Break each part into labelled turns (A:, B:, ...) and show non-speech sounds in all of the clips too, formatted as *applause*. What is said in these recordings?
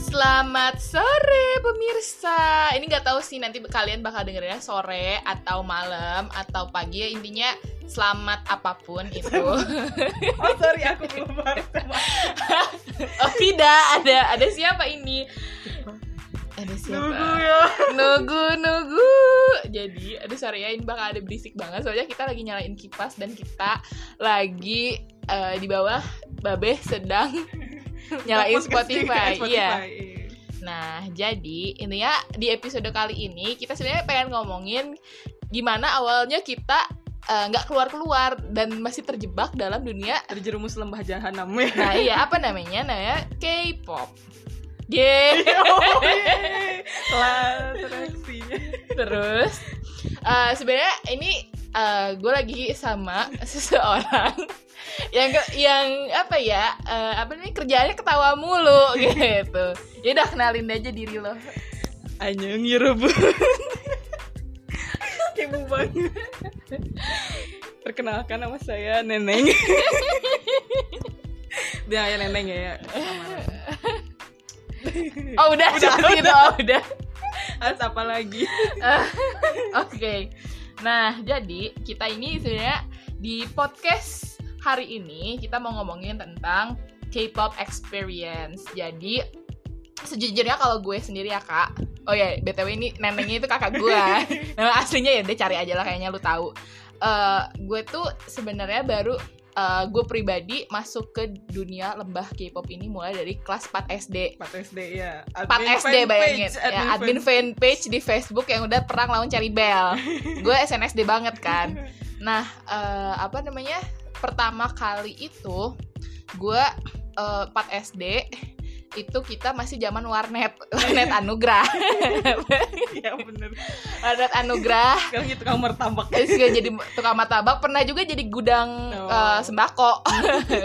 A: Selamat sore pemirsa. Ini nggak tahu sih nanti kalian bakal dengerinnya sore atau malam atau pagi ya intinya selamat apapun itu.
B: Oh sorry aku belum baru sama.
A: oh tidak ada ada siapa ini? Ada
B: Nunggu
A: siapa?
B: ya.
A: Nugu nugu. Jadi aduh sorry ya ini bakal ada berisik banget soalnya kita lagi nyalain kipas dan kita lagi eh, di bawah Babeh sedang nyalain
B: Fokus ke stick,
A: Spotify. Iya.
B: iya.
A: Nah, jadi intinya di episode kali ini kita sebenarnya pengen ngomongin gimana awalnya kita eh, nggak keluar-keluar dan masih terjebak dalam dunia.
B: Terjerumus lembah jahanam ya. *laughs*
A: Nah, iya apa namanya? Namanya K-pop.
B: *laughs*
A: Yeay.
B: Oh, yeay. Lah, reaksinya.
A: Terus eh, sebenarnya ini eh, gue lagi sama *laughs* seseorang yang ke- yang apa ya eh, apa namanya kerjaannya ketawa mulu *laughs* gitu. Ya udah kenalin aja diri
B: *laughs*
A: lo.
B: Anyong *laughs* Yerebun Kebu banget Perkenalkan nama saya *laughs* Neneng Dia ya Neneng ya, ya
A: Oh udah,
B: Udah,
A: udah,
B: udah.
A: udah. udah.
B: Harus apa lagi?
A: *laughs* Oke. Nah, jadi kita ini sebenarnya di podcast hari ini kita mau ngomongin tentang K-pop experience. Jadi sejujurnya kalau gue sendiri ya kak oh ya btw ini neneknya itu kakak gue nama aslinya ya deh cari aja lah kayaknya lu tahu Eh, gue tuh sebenarnya baru eh, gue pribadi masuk ke dunia lembah K-pop ini mulai dari kelas 4 SD
B: 4 SD ya
A: 4 SD
B: fanpage,
A: bayangin ya,
B: admin
A: admin
B: fan-
A: fanpage di Facebook yang udah perang lawan cari
B: *laughs*
A: bel gue SNSD banget kan nah eh, apa namanya pertama kali itu gue eh, 4 SD itu kita masih zaman
B: *laughs*
A: warnet warnet anugrah
B: Ya bener
A: warnet anugrah
B: Sekarang itu kamu tambak
A: terus juga jadi tukang martabak pernah juga jadi gudang
B: No.
A: eh,
B: *laughs*
A: sembako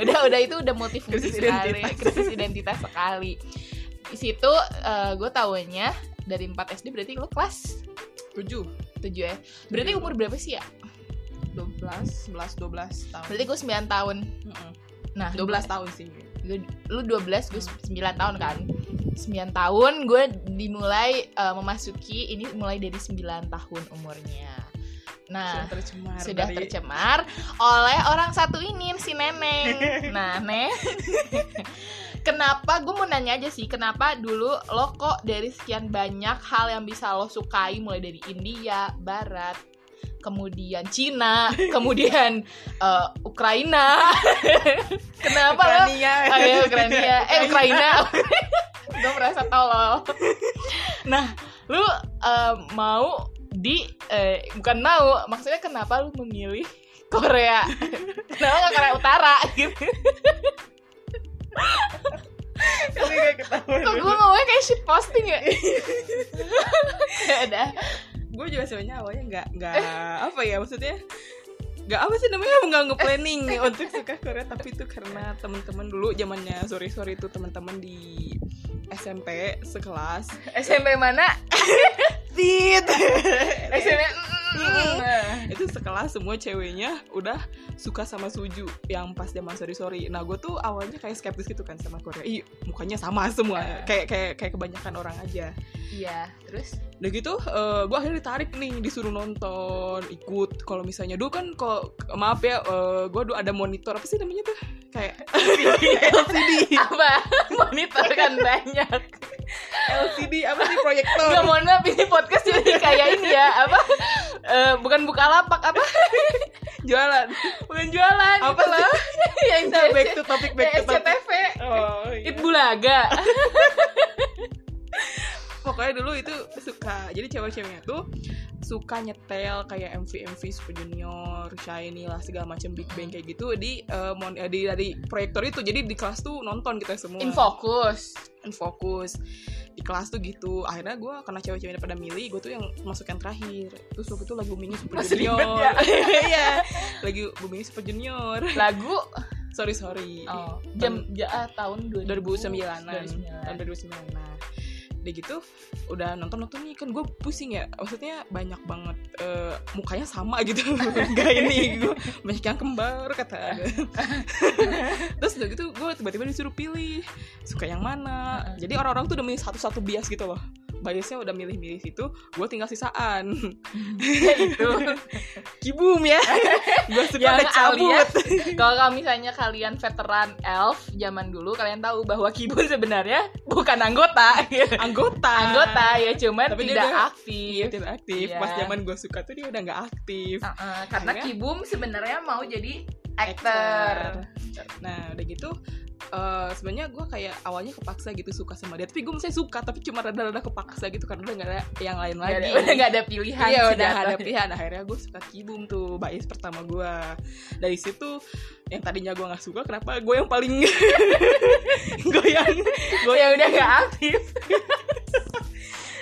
A: udah udah itu udah multifungsi
B: Oh. Krisis
A: sekali
B: identitas.
A: krisis identitas sekali di situ eh, gue taunya dari 4 SD berarti lu kelas
B: 7
A: tujuh ya berarti
B: Tujuh.
A: umur berapa sih ya
B: 12, 11, 12 tahun
A: berarti gue 9 tahun
B: Mm-mm.
A: nah
B: 12 tahun sih
A: Gua- lu 12 gue 9 tahun kan 9 tahun gue dimulai eh, memasuki ini mulai dari 9 tahun umurnya nah
B: Sudah tercemar
A: sudah
B: dari-
A: tercemar oleh orang satu ini si neneng nah neng *laughs* kenapa gue mau nanya aja sih kenapa dulu lo kok dari sekian banyak hal yang bisa lo sukai mulai dari India Barat kemudian Cina kemudian eh, Ukraina *laughs* kenapa lo
B: Ukrania
A: Oh *laughs* iya, Ukraina. Eh,
B: *laughs*
A: *laughs* Ukraina. Gue merasa tolol. Nah, lu eh, mau di eh, bukan mau, maksudnya kenapa lu memilih *laughs* Korea? kenapa nggak Korea *laughs* Utara? Gitu.
B: Kali gak ketahuan
A: Kok gue ngomongnya kayak shit posting *laughs* ya? ya udah.
B: gue juga sebenarnya awalnya nggak nggak apa ya maksudnya nggak apa sih namanya nggak nge-planning untuk suka Korea tapi itu karena teman-teman dulu zamannya sorry sorry itu teman-teman di SMP sekelas
A: SMP mana?
B: tit
A: SMP. Nah.
B: itu sekelas semua ceweknya udah suka sama Suju yang pas zaman sorry sorry nah gue tuh awalnya kayak skeptis gitu kan sama Korea Ih, mukanya sama semua kayak kayak kayak kebanyakan orang aja
A: Iya, terus
B: Udah gitu, gue akhirnya ditarik nih, disuruh nonton, ikut. Kalau misalnya dulu kan, kok maaf ya, gue dulu ada monitor apa sih namanya tuh? Kayak LCD,
A: apa? *laughs* Monitor kan banyak.
B: LCD apa sih proyektor?
A: Gak mohon maaf ini podcast jadi kayak ini ya *laughs* apa? Eh, bukan buka lapak apa?
B: Jualan.
A: Bukan jualan itu
B: Apa sih? *laughs*
A: loh. Iya, yang
B: Nah, back to topic, back to topic.
A: SCTV.
B: Oh, iya.
A: It Bulaga.
B: Pokoknya dulu itu suka, jadi cewek-ceweknya tuh suka nyetel kayak MV MV Super Junior, Shiny lah segala macam Big Bang kayak gitu di eh, mon- eh, di dari proyektor itu. Jadi di kelas tuh nonton kita semua.
A: Infokus.
B: and fokus di kelas tuh gitu akhirnya gue karena cewek-ceweknya pada milih gue tuh yang masuk yang terakhir terus waktu itu lagu boomingnya super
A: Masih
B: junior
A: ribet ya.
B: *laughs* Iya. lagu boomingnya super junior
A: Lagu
B: sorry sorry
A: oh, jam ja- ah, tahun 2000,
B: *laughs* 2009 an tahun
A: 2009.
B: 2009 nah udah gitu udah nonton nonton nih kan gue pusing ya maksudnya banyak banget eh, mukanya sama gitu *laughs* gak ini gue banyak yang kembar
A: *laughs*
B: kata ada. terus udah gitu gue tiba-tiba disuruh pilih suka yang mana
A: Heeh.
B: jadi orang-orang tuh udah milih satu-satu bias gitu loh biasnya udah milih-milih situ gue tinggal sisaan *laughs*
A: Ya itu
B: gitu. kibum ya gue suka
A: *laughs* Yang
B: ada cabut
A: kalau kalau misalnya kalian veteran elf zaman dulu kalian tahu bahwa kibun sebenarnya bukan
B: *laughs*
A: anggota gitu.
B: anggota
A: anggota ya cuman
B: Tapi dia
A: tidak
B: udah-
A: aktif
B: Iya, tidak aktif
A: Iya.
B: pas zaman gue suka tuh dia udah nggak aktif
A: Uh-uh, karena
B: Akhirnya-
A: kibum sebenarnya mau jadi aktor
B: Nah udah gitu eh, sebenarnya gue kayak awalnya kepaksa gitu suka sama dia tapi gue misalnya suka tapi cuma rada-rada kepaksa gitu karena udah gak ada yang lain
A: Nggak ada-
B: lagi
A: udah *laughs* nggak ada pilihan
B: *laughs* Iya
A: sih
B: udah
A: jatuh.
B: ada pilihan akhirnya gue suka kibum tuh bais pertama gue dari situ yang tadinya gue nggak suka kenapa gue yang paling *laughs* gue yang
A: gue ya udah nggak aktif *laughs*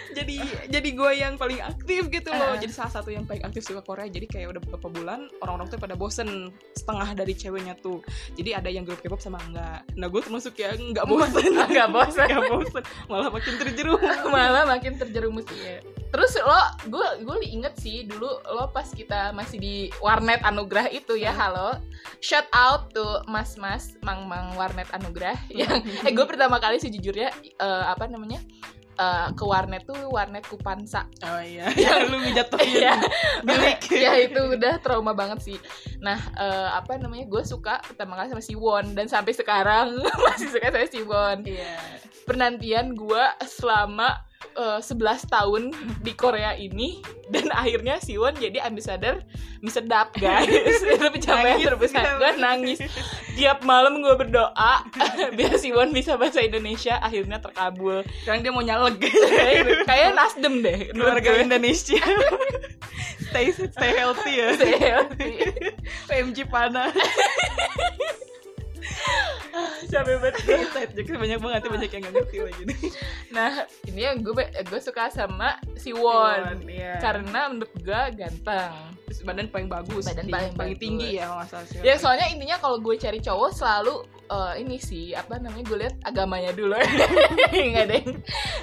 B: jadi jadi gue yang paling aktif gitu
A: Ah.
B: loh jadi salah satu yang paling aktif suka Korea jadi kayak udah beberapa bulan orang-orang tuh pada bosen setengah dari ceweknya tuh jadi ada yang grup K-pop sama enggak nah gue termasuk yang enggak bosen
A: Nggak bosen.
B: *laughs* enggak bosen malah makin terjerumus
A: malah makin terjerumus iya. terus lo gue gue inget sih dulu lo pas kita masih di warnet anugrah itu ya halo shout out to mas mas mang mang warnet anugrah
B: Hmm. Iya.
A: yang *laughs* eh gue pertama kali sejujurnya eh, apa namanya eh, ke warnet tuh warnet kupansa
B: oh iya yang lu ngejatuhin
A: Iya.
B: bilik
A: ya itu udah trauma banget sih nah eh, apa namanya gue suka pertama kali sama si Won dan sampai sekarang *laughs* masih suka sama si Won
B: Iya.
A: penantian gue selama eh, 11 tahun di Korea ini dan akhirnya Siwon jadi ambassador Misedap *laughs* guys itu pencapaian
B: Nangis
A: terbesar
B: nggak?
A: gue nangis tiap malam gue berdoa *laughs* biar Siwon bisa bahasa Indonesia akhirnya terkabul
B: sekarang dia mau *laughs* nyaleg iya.
A: kayak Nasdem deh menurut
B: keluarga
A: gue.
B: Indonesia *laughs* stay stay healthy ya PMG panas
A: *laughs* Capek banget
B: jadi banyak banget tuh, banyak yang nggak ngerti lagi *laughs* nih
A: Nah, ini yang gue gue suka sama si Won
B: Iya.
A: karena menurut gue ganteng.
B: Terus badan paling bagus
A: Badan
B: Di-
A: paling bagus.
B: tinggi ya kalau nggak salah sih.
A: Ya soalnya intinya kalau gue cari cowok selalu eh, ini sih apa namanya gue lihat agamanya dulu *laughs* Iya nggak deh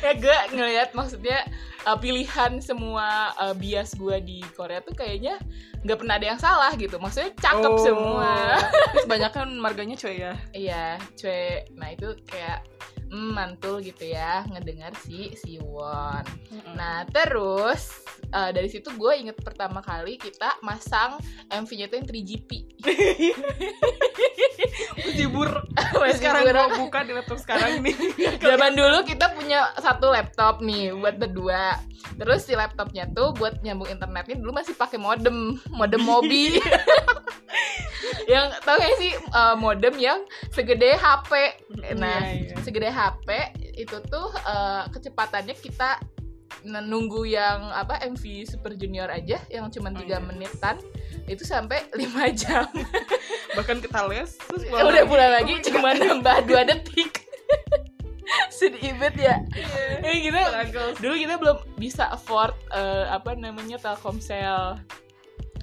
A: ya gue ngelihat maksudnya eh, pilihan semua eh, bias gue di Korea tuh kayaknya nggak pernah ada yang salah gitu maksudnya cakep
B: Oh.
A: semua
B: terus banyak kan marganya cuy ya
A: Iya, cuy. Nah itu kayak mm, mantul gitu ya ngedengar si Siwon. Nah terus eh, dari situ gue inget pertama kali kita masang MV-nya itu yang
B: *laughs*
A: 3GP.
B: hibur
A: Masih
B: sekarang
A: kurang.
B: gua buka di laptop sekarang *laughs* ini
A: Zaman dulu kita punya satu laptop nih buat berdua. Terus si laptopnya tuh buat nyambung internetnya dulu masih pakai modem, modem
B: *laughs*
A: mobi. yang tau gak sih eh, modem yang segede HP. Nah,
B: Iya, iya.
A: segede HP itu tuh eh, kecepatannya kita nunggu yang apa MV Super Junior aja yang cuma
B: Oh,
A: tiga
B: iya.
A: menitan itu sampai 5 *laughs* jam.
B: bahkan kita les terus
A: Eh, udah pulang lagi
B: Oh
A: cuma nambah dua detik *laughs* sedih banget ya
B: Iya.
A: Eh, gitu
B: Struggle.
A: dulu kita belum bisa afford eh, apa namanya telkomsel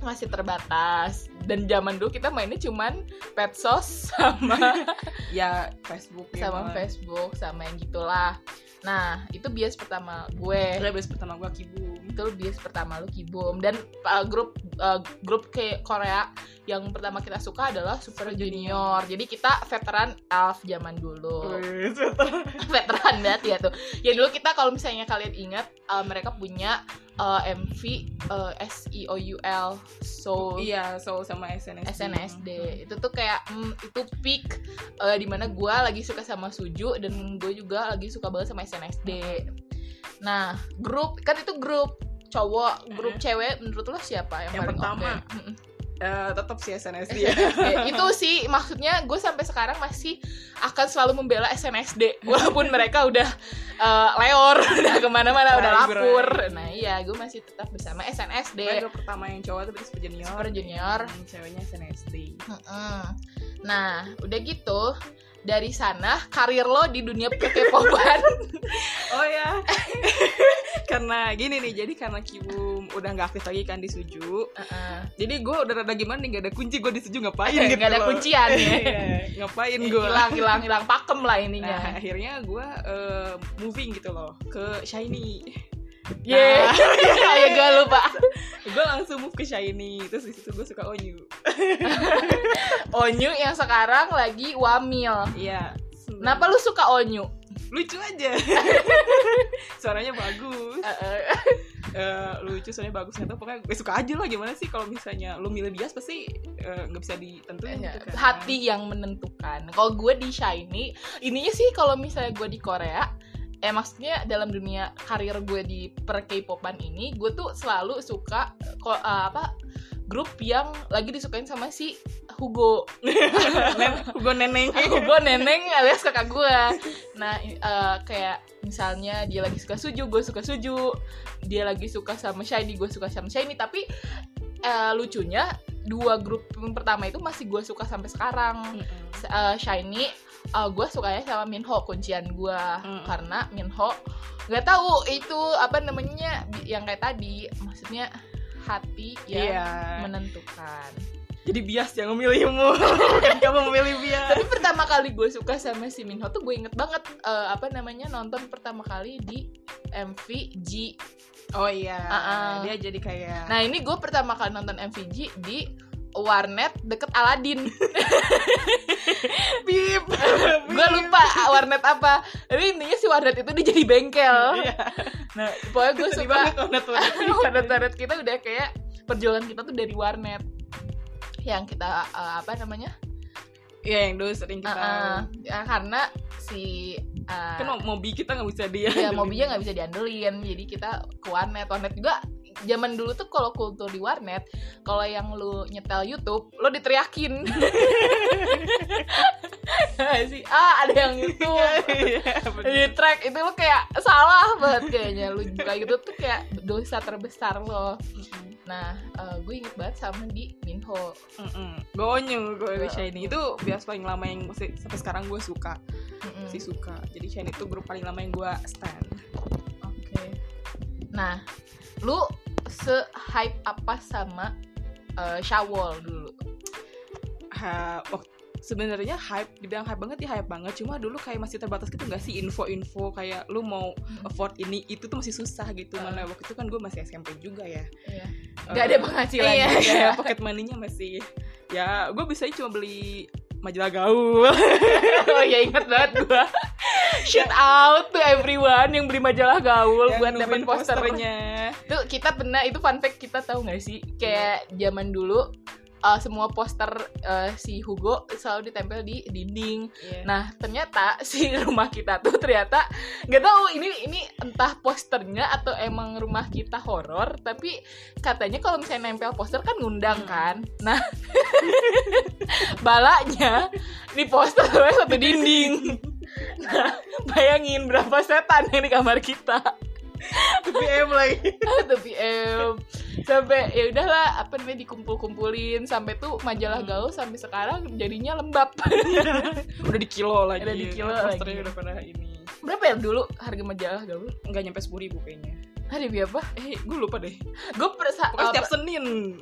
A: masih terbatas dan zaman dulu kita mainnya cuman petsos *laughs* sama
B: ya Facebook ya,
A: sama
B: Bang.
A: Facebook sama yang gitulah nah itu bias pertama gue
B: Udah bias pertama gua kibum
A: itu bias pertama lu kibum dan uh, grup uh, grup ke Korea yang pertama kita suka adalah Super Junior jadi kita veteran elf zaman dulu
B: Wih, setelah-
A: *laughs* veteran banget ya tuh. Ya dulu kita kalau misalnya kalian ingat uh, mereka punya uh, MV uh, SEOUL Soul
B: iya so sama SNSD
A: SNSD itu tuh kayak mm, itu peak uh, dimana gue lagi suka sama Suju dan gue juga lagi suka banget sama SNSD. Nah grup kan itu grup cowok grup cewek menurut lo siapa yang,
B: Iya. Yang
A: paling
B: pertama.
A: oke? Mm-mm.
B: Eh, tetap sih SNSD ya
A: *laughs* Ya, itu sih maksudnya gue sampai sekarang masih akan selalu membela SNSD walaupun mereka udah eh, leor *laughs* udah kemana-mana udah
B: Bray, bray.
A: lapor nah iya gue masih tetap bersama SNSD
B: Gue pertama yang cowok tapi Super Junior
A: Iya. Super Junior.
B: yang ceweknya SNSD
A: Mm-mm. nah udah gitu dari sana karir lo di dunia
B: *laughs*
A: perkepopan iya.
B: Oh ya. karena gini nih, jadi karena Kibum udah nggak aktif lagi kan di Suju
A: Heeh.
B: jadi gue udah rada gimana nih nggak ada kunci gue di Suju ngapain gitu
A: Eh, Nggak ada
B: loh.
A: kuncian ya.
B: Iya, ngapain gue
A: hilang hilang hilang pakem lah ininya
B: nah akhirnya gue moving gitu loh ke Shiny
A: Yeay
B: nah.
A: *laughs* ya gue Iya. lupa
B: gue langsung move ke Shiny terus di situ gue suka Onyu
A: Onyu yang sekarang lagi wamil
B: iya
A: kenapa lu suka Onyu
B: lucu
A: *laughs*
B: aja suaranya bagus Eh, lucu soalnya bagus nggak tau pokoknya gue suka aja lah gimana sih kalau misalnya lu milih dia pasti eh, nggak bisa ditentuin
A: Ya,
B: gitu kan.
A: hati yang menentukan. Kalau gue di Shiny, ininya sih kalau misalnya gue di Korea, eh maksudnya dalam dunia karir gue di per K-popan ini, gue tuh selalu suka eh, ko- eh, apa grup yang lagi disukain sama si Hugo.
B: *laughs* Nen, gue neneng
A: Hugo neneng alias kakak gue. Nah, i- eh, kayak misalnya dia lagi suka Suju, gue suka Suju. Dia lagi suka sama Shiny, gue suka sama Shiny. Tapi eh, lucunya dua grup yang pertama itu masih gue suka sampai sekarang s- uh, shiny gue sukanya sama Minho kuncian gue
B: Mm.
A: karena Minho nggak tahu itu apa namanya bi- yang kayak tadi maksudnya hati yang
B: Iya.
A: menentukan
B: Jadi bias yang memilihmu. *laughs* Bukan kamu memilih bias.
A: tapi pertama kali gue suka sama si Minho tuh gue inget banget uh, apa namanya nonton pertama kali di MVG
B: Oh iya.
A: Ah, ah.
B: Dia jadi kayak
A: nah ini gue pertama kali nonton MVG di warnet deket Aladin *laughs*
B: bip.
A: gue lupa warnet apa tapi intinya si warnet itu dia jadi bengkel
B: Iya.
A: nah pokoknya gue
B: Sedih
A: suka
B: banget warnet
A: *laughs*
B: warnet.
A: pada tarot kita udah kayak perjuangan kita tuh dari warnet yang kita eh, apa namanya
B: Iya yang dulu sering kita.
A: Eh, eh, ya, karena si eh,
B: Kan mobil kita nggak bisa dia.
A: ya mobilnya
B: *laughs*
A: nggak bisa diandelin jadi kita ke warnet warnet juga zaman dulu tuh kalau kultur di warnet kalau yang lu nyetel YouTube lo diteriakin *laughs* si ah ada yang YouTube *laughs*
B: Iya,
A: di track itu lo kayak salah banget kayaknya lu buka gitu tuh kayak dosa terbesar lo Nah, eh, gue inget banget sama di Minho.
B: Gue onyu,
A: Iya,
B: gue Shiny Itu bias paling lama yang masih- sampai sekarang gue suka
A: Mm-mm.
B: Masih suka Jadi Shiny itu grup paling lama yang gue stand
A: Oke. Nah, lu se hype apa sama eh, Shawol dulu?
B: ha, wak- sebenarnya hype dibilang hype banget ya hype banget cuma dulu kayak masih terbatas gitu nggak sih info-info kayak lu mau
A: Mm.
B: afford ini itu tuh masih susah gitu
A: Uh.
B: mana waktu itu kan gue masih SMP juga ya
A: Iya.
B: Eh,
A: Gak ada penghasilan.
B: iya,
A: juga. *laughs*
B: iya, pocket money-nya masih ya gue bisa cuma beli majalah gaul
A: *laughs* oh ya inget banget gue. *laughs* Shout out to everyone yang beli majalah gaul
B: Yang
A: buat
B: nungguin
A: dapat posternya.
B: posternya
A: Itu kita pernah itu fun fact kita tahu nggak sih? Kayak zaman dulu eh, semua poster eh, si Hugo selalu ditempel di dinding. Nah ternyata *laughs* si rumah kita tuh ternyata nggak tahu ini ini entah posternya atau emang rumah kita horor tapi katanya kalau misalnya nempel poster kan ngundang
B: Hmm.
A: kan. Nah *laughs* balanya di poster *laughs* satu dinding. Nah bayangin berapa setan yang di kamar kita *laughs*
B: *laughs* BM Nah, lagi
A: satu PM sampai ya udahlah apa namanya dikumpul-kumpulin sampai tuh majalah
B: Hmm.
A: gaul sampai sekarang jadinya lembab. *laughs*
B: udah di kilo lagi Kan
A: Udah di kilo
B: posternya
A: lagi.
B: udah pada ini
A: Berapa ya dulu harga majalah gaul?
B: nggak nyampe sepuluh ribu kayaknya
A: Hari berapa?
B: eh gue lupa deh
A: gue
B: pokoknya setiap Senin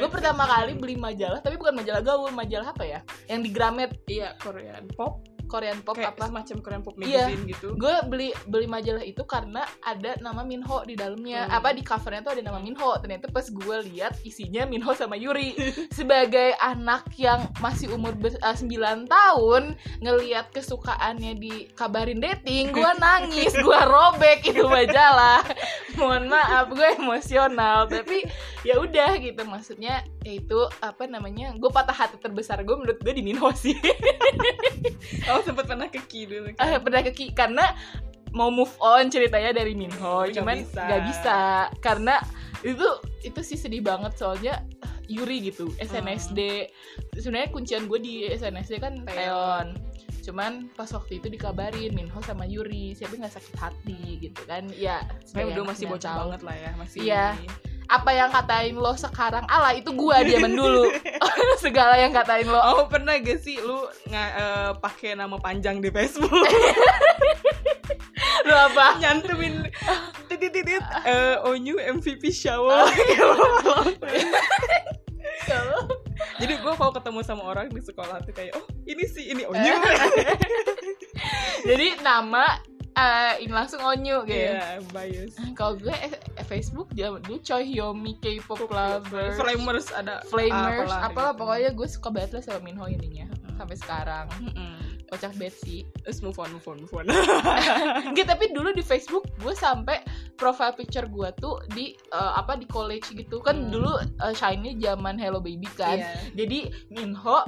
A: gue pertama kali beli majalah tapi bukan majalah gaul majalah apa ya yang di Gramet
B: *laughs* iya Korean pop
A: Korean pop
B: kayak
A: apa
B: semacam Korean pop
A: Iya.
B: magazine gitu.
A: gue beli beli majalah itu karena ada nama Minho di dalamnya
B: Hmm.
A: apa di covernya tuh ada nama Minho ternyata pas gue lihat isinya Minho sama Yuri sebagai anak yang masih umur ber- eh, 9 tahun ngelihat kesukaannya di kabarin dating gue nangis gue robek itu majalah mohon maaf gue emosional tapi ya udah gitu maksudnya yaitu apa namanya gue patah hati terbesar gue menurut gue di Minho sih
B: *laughs* Oh sempat pernah ke Ki
A: eh
B: dulu. kan?
A: pernah ke Ki karena mau move on ceritanya dari Minho
B: Tapi Oh, nggak
A: cuman
B: bisa.
A: nggak bisa. karena itu itu sih sedih banget soalnya Yuri gitu SNSD sebenarnya kuncian gue di SNSD kan
B: Hmm. Taeyeon.
A: Taeon cuman pas waktu itu dikabarin Minho sama Yuri siapa nggak sakit hati gitu kan ya
B: Saya
A: sebagai
B: udah
A: anak
B: masih
A: sembilan
B: bocah
A: tahun.
B: banget lah ya masih.
A: Iya. apa yang katain lo sekarang ala itu gue zaman dulu
B: *laughs*
A: *laughs* segala yang katain lo
B: Oh pernah gak sih lu nggak eh, pakai *laughs* nama panjang di Facebook
A: lo apa
B: nyantumin did did did. Eh, Onyu MVP shower. *laughs* Jadi gue kalau ketemu sama orang di sekolah tuh kayak, oh ini sih ini Onyu.
A: Jadi nama eh, ini langsung onyu gitu.
B: *laughs* Iya, bias.
A: Kalau gue eh, eh, Facebook dia dulu Choi Hyomi K-pop lover.
B: Flamers ada.
A: Flamers, apalah
B: apalah, gitu. Hmm.
A: pokoknya gue suka banget lah sama Minho ininya sampai sekarang
B: Mm-mm.
A: kocak banget
B: *laughs*
A: sih
B: Let's move on, move on, move on.
A: Nggak, tapi dulu di Facebook gue sampai profile picture gue tuh di eh, apa di college gitu kan
B: Hmm.
A: dulu eh, shine-nya zaman Hello Baby kan
B: *laughs* Iya.
A: jadi Minho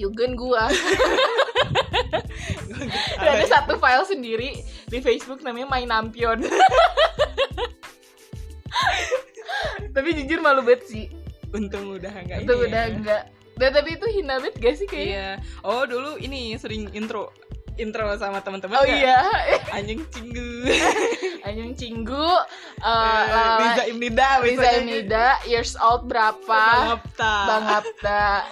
A: Yugen gue
B: *laughs*
A: Dan ada
B: Ada-
A: satu file sendiri di Facebook namanya My
B: *laughs*
A: Nampion. *laughs* tapi jujur malu banget sih.
B: Untung udah enggak
A: Itu udah enggak. Dan tapi itu hina banget gak sih kayaknya?
B: Iya. Oh, dulu ini sering intro intro sama teman-teman
A: Oh
B: nggak?
A: iya, *laughs*
B: Anjing cinggu.
A: Anyung Cinggu, eh,
B: *laughs*
A: iya, Lala-
B: Riza Imnida,
A: Riza Imnida, years old berapa, Bang Hapta.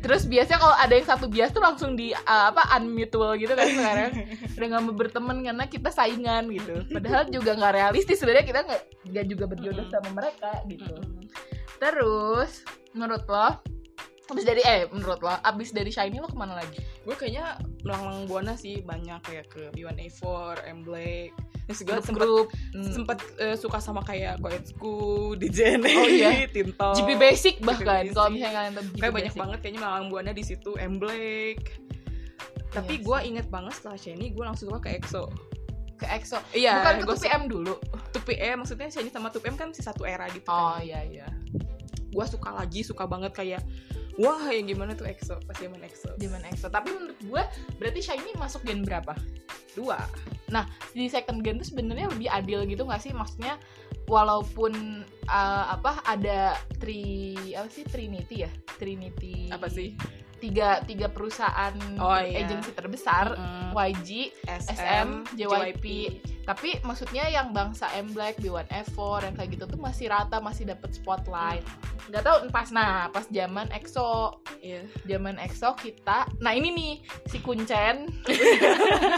A: Terus biasanya kalau ada yang satu bias tuh langsung di eh, apa unmutual gitu kan sekarang udah nggak mau berteman karena kita saingan gitu. Padahal juga nggak realistis sebenarnya kita nggak nggak juga berjodoh
B: Mm-mm.
A: sama mereka gitu. Terus menurut lo abis dari eh menurut lo abis dari shiny lo kemana lagi?
B: Gue kayaknya melanglang buana sih banyak kayak ke B1A4, M Black. Terus gue
A: Grup
B: sempet
A: grup hmm.
B: sempet eh, suka sama kayak Koetsuku, DJNA,
A: Oh, iya.
B: Tinto.
A: GP basic bahkan
B: Basic.
A: kalau misalnya kalian tahu GP
B: kayak banyak
A: basic.
B: banget kayaknya melanglang buana di situ M Black. Tapi
A: Iya
B: gue inget banget setelah Shiny gue langsung suka ke EXO.
A: ke EXO. Ya,
B: Iya,
A: Bukan ke
B: gue
A: 2PM dulu.
B: 2PM maksudnya Shiny sama 2PM kan si satu era gitu.
A: Oh
B: kan.
A: iya iya.
B: Gue suka lagi suka banget kayak wah yang gimana tuh EXO pas zaman EXO
A: Zaman EXO. Tapi menurut gue berarti shiny masuk gen berapa?
B: dua.
A: Di second gen tuh sebenarnya lebih adil gitu nggak sih? Maksudnya walaupun uh, apa ada tri apa sih Trinity ya? Trinity
B: Apa sih?
A: Tiga tiga perusahaan
B: Oh, iya.
A: agensi terbesar
B: Mm,
A: YG, SM, JYP. tapi maksudnya yang bangsa M Black, B1F4 yang kayak gitu tuh masih rata masih dapat spotlight nggak tahu pas nah pas zaman EXO
B: Iya.
A: zaman EXO kita nah ini nih si Kuncen *laughs*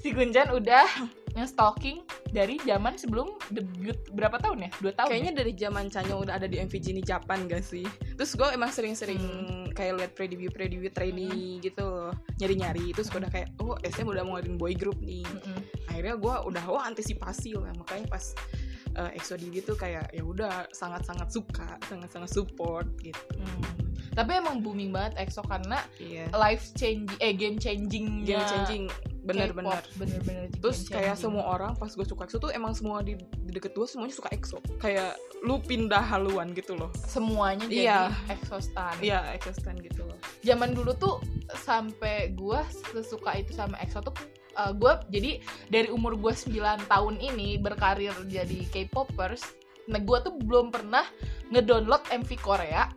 A: si Kuncen udah nge-stalking dari zaman sebelum debut berapa tahun ya dua tahun
B: Kayaknya
A: ya?
B: dari zaman Chanyo udah ada di MVG ini Japan gak sih? Terus gue emang sering-sering
A: Hmm.
B: kayak liat preview preview trainee gitu loh nyari-nyari. Terus gue udah kayak oh SM udah mau ngadain boy group nih.
A: Mm-mm.
B: Akhirnya gue udah wah antisipasi lah makanya pas eh, EXO debut tuh kayak ya udah sangat-sangat suka, sangat-sangat support gitu.
A: Hmm. tapi emang booming banget EXO karena
B: Iya.
A: life changing eh game changing
B: Game changing bener-bener.
A: bener-bener
B: Terus
A: game Iya.
B: kayak
A: changing.
B: semua orang pas gue suka EXO tuh emang semua di, di deket gue semuanya suka EXO. Kayak lu pindah haluan gitu loh.
A: semuanya
B: Iya.
A: jadi EXO stan
B: Iya, EXO stand gitu loh.
A: zaman dulu tuh sampai gua sesuka itu sama EXO tuh uh, gua jadi dari umur gua 9 tahun ini berkarir jadi K-popers nah gua tuh belum pernah ngedownload MV Korea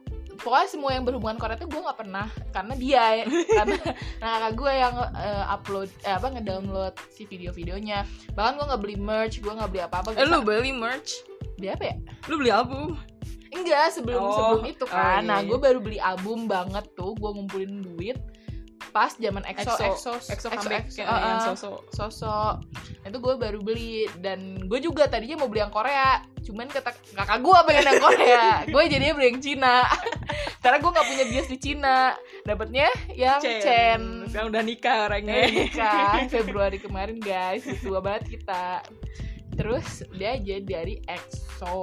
A: pokoknya semua yang berhubungan Korea tuh gua nggak pernah karena dia
B: *laughs*
A: karena nah kakak gue yang uh, upload eh, apa ngedownload si video-videonya bahkan gua nggak beli merch gua nggak beli apa-apa
B: Eh
A: Gua
B: lu beli merch?
A: beli apa ya
B: Lu beli album?
A: Enggak, sebelum
B: Oh,
A: sebelum itu
B: oh,
A: kan.
B: iya,
A: Nah,
B: iya.
A: gue baru beli album banget tuh, gue ngumpulin duit pas zaman EXO
B: EXO,
A: EXO
B: EXO comeback
A: EXO,
B: kayak
A: uh,
B: yang
A: uh,
B: sosok
A: Sosok. Itu gue baru beli dan gue juga tadinya mau beli yang Korea, cuman kata kakak gue pengen yang Korea.
B: *laughs*
A: gue jadinya beli yang Cina. *laughs* Karena gue nggak punya bias di Cina. Dapatnya yang Chen.
B: Sekarang udah nikah orangnya.
A: Eh, nikah Februari kemarin guys tua banget kita terus dia aja dari EXO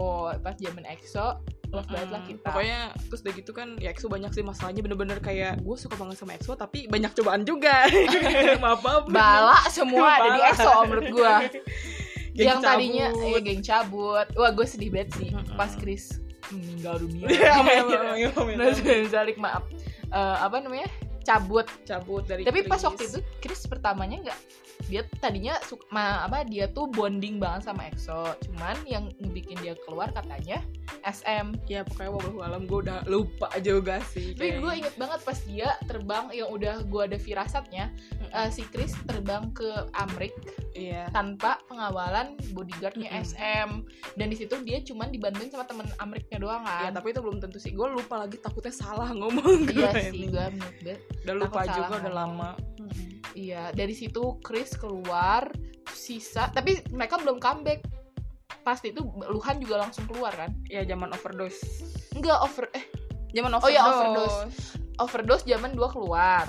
A: pas zaman EXO love banget lah
B: Mm,
A: kita
B: Pokoknya terus udah gitu kan ya EXO banyak sih masalahnya bener-bener kayak gue suka banget sama EXO tapi banyak cobaan juga. *laughs* maaf maaf.
A: bala semua ada di
B: Bala.
A: EXO menurut gua
B: *laughs* Geng
A: yang tadinya
B: cabut.
A: iya, geng cabut wah gue sedih banget sih
B: Mm-mm.
A: pas Chris meninggal dunia
B: *laughs* Iya, amin, amin, amin, amin.
A: Terus *laughs* Zalik maaf Eh, apa namanya cabut
B: cabut dari
A: tapi pas
B: Chris.
A: waktu itu Chris pertamanya nggak dia tadinya suka ma- apa dia tuh bonding banget sama EXO cuman yang bikin dia keluar katanya SM
B: ya pokoknya wabahu alam gue udah lupa juga sih.
A: tapi
B: kayaknya.
A: gue inget banget pas dia terbang yang udah gue ada firasatnya eh, si Chris terbang ke Amrik
B: Iya.
A: tanpa pengawalan bodyguardnya
B: Mm-mm.
A: SM dan di situ dia cuman dibantuin sama temen Amriknya doang
B: Ya,
A: kan
B: tapi itu belum tentu sih. Gue lupa lagi takutnya salah ngomong
A: iya
B: gue
A: sih
B: ini.
A: gue menurut gue
B: Udah
A: Takut
B: lupa
A: salah
B: juga udah
A: ngomong.
B: lama.
A: Iya, dari situ Chris keluar, terus sisa tapi mereka belum comeback pasti itu Luhan juga langsung keluar kan
B: ya zaman overdose
A: enggak over eh
B: zaman
A: Oh
B: overdose
A: iya, overdose. overdose zaman dua keluar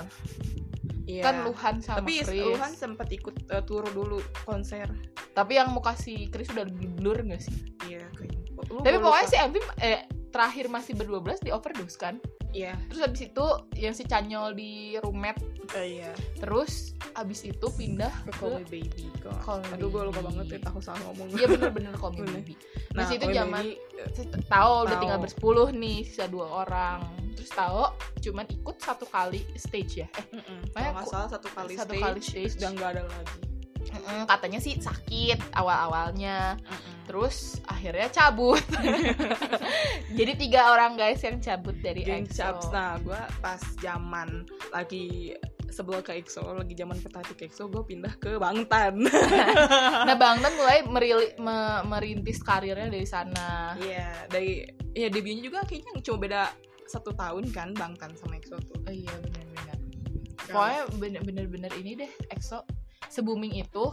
B: Iya.
A: kan Luhan sama
B: tapi
A: Chris
B: Luhan sempat ikut eh, tur dulu konser
A: tapi yang mau kasih Chris udah blur gak sih
B: iya kayaknya. Lu
A: tapi
B: gua
A: pokoknya
B: lupa.
A: si MV eh, terakhir masih berdua belas di overdose kan
B: iya
A: terus abis itu yang si Canyol di rumet
B: eh, iya
A: terus abis itu pindah
B: ke
A: ke
B: Call Me Baby kok
A: Call Me
B: aduh gue lupa
A: Baby.
B: banget ya tahu salah ngomong
A: dia Iya,
B: *laughs*
A: bener-bener komik
B: Bener.
A: baby masih itu
B: Call Me
A: zaman-
B: Baby, Nah, eh,
A: Tao udah
B: Tao.
A: tinggal bersepuluh nih sisa dua orang terus Tao cuman ikut satu kali stage ya eh Makanya
B: mm-mm. kalau nggak
A: ku-
B: salah satu kali
A: satu
B: stage,
A: kali stage.
B: udah nggak ada lagi
A: mm, katanya sih sakit awal-awalnya terus akhirnya
B: *laughs*
A: cabut jadi tiga orang guys yang cabut dari
B: Geng Chaps.
A: EXO
B: Nah, gue pas zaman lagi sebelum ke EXO, lagi zaman petati ke EXO, gue pindah ke Bangtan.
A: nah Bang Tan mulai merili- me- merintis karirnya dari sana
B: Iya, *laughs* dari ya debutnya juga kayaknya cuma beda satu tahun kan Bangtan sama EXO tuh.
A: oh, iya benar-benar
B: Nah.
A: pokoknya bener- bener-bener ini deh EXO se booming itu